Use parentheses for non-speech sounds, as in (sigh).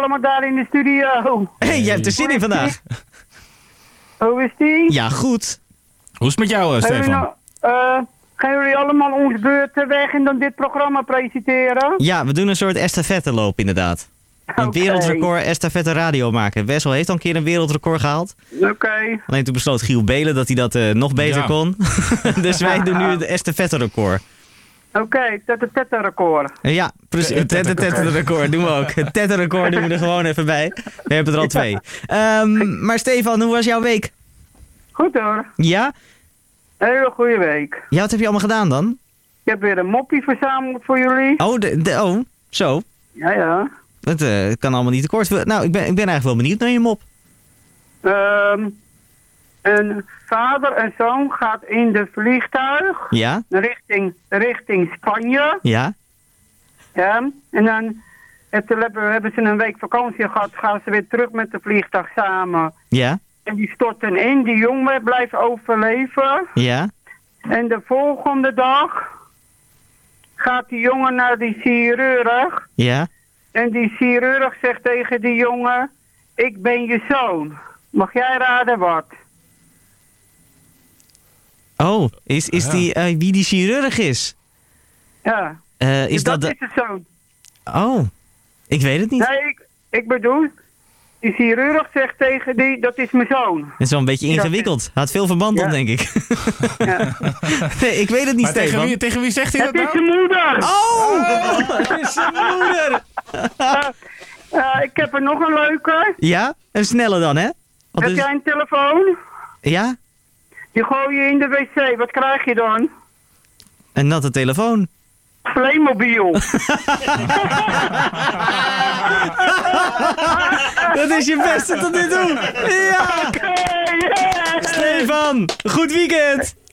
samen daar in de studio. hey, jij hebt er zin in vandaag. Hoe is die? (laughs) Ja, goed. Hoe is het met jou, eh, Hebben jullie Stefan? nou, eh, gaan jullie allemaal ons beurt weg en dan dit programma presenteren? Ja, we doen een soort estafetteloop inderdaad. Een Oké. wereldrecord estafette radio maken. Wessel heeft al een keer een wereldrecord gehaald. Oké. Alleen toen besloot Giel Belen dat hij dat eh, nog beter Ja. kon. (laughs) dus wij doen nu het estafette-record. Oké, tette tette record. Eh, Ja, precies. Het tette tette record doen we ook. Het tette record doen we er gewoon even bij. We hebben er al twee. Ehm, maar Stefan, hoe was jouw week? Goed hoor. Ja? Hele goede week. Ja, wat heb je allemaal gedaan dan? Ik heb weer een moppie verzameld voor jullie. Oh, de, de- oh zo. Ja, ja. Dat eh, kan allemaal niet te kort. Nou, ik ben, ik ben eigenlijk wel benieuwd naar je mop. Ehm, een vader en zoon gaat in de vliegtuig Ja? richting, richting Spanje. Ja? Ja. En dan en toen hebben, hebben ze een week vakantie gehad. Gaan ze weer terug met de vliegtuig samen. Ja? En die storten in. Die jongen blijft overleven. Ja? En de volgende dag gaat die jongen naar die chirurg. Ja? En die chirurg zegt tegen die jongen: Ik ben je zoon. Mag jij raden wat? Oh, is, is Ah. Ja. die, eh, wie die chirurg is? Ja. Eh, is dat, dat de... is de zoon. Oh, ik weet het niet. Nee, ik, ik bedoel, die chirurg zegt tegen die: Dat is mijn zoon. Het is wel een beetje dat is- ingewikkeld. Had veel verband op, Ja. denk (laughs) ik. Ja. nee, ik weet het niet, Maar tegen Stefan. wie, tegen wie zegt hij dat Het is nou? zijn moeder! Oh! Ah! Het (laughs) is zijn moeder! Eh, ik heb er nog een leuke. Ja? Een snelle dan, hè? Want Heb dus- jij een telefoon? Ja? Die gooi je in de wc. Wat krijg je dan? Een natte telefoon. Playmobil. Dat is je (laughs) beste tot nu toe. Ja! Hey, yeah. Stefan, goed weekend!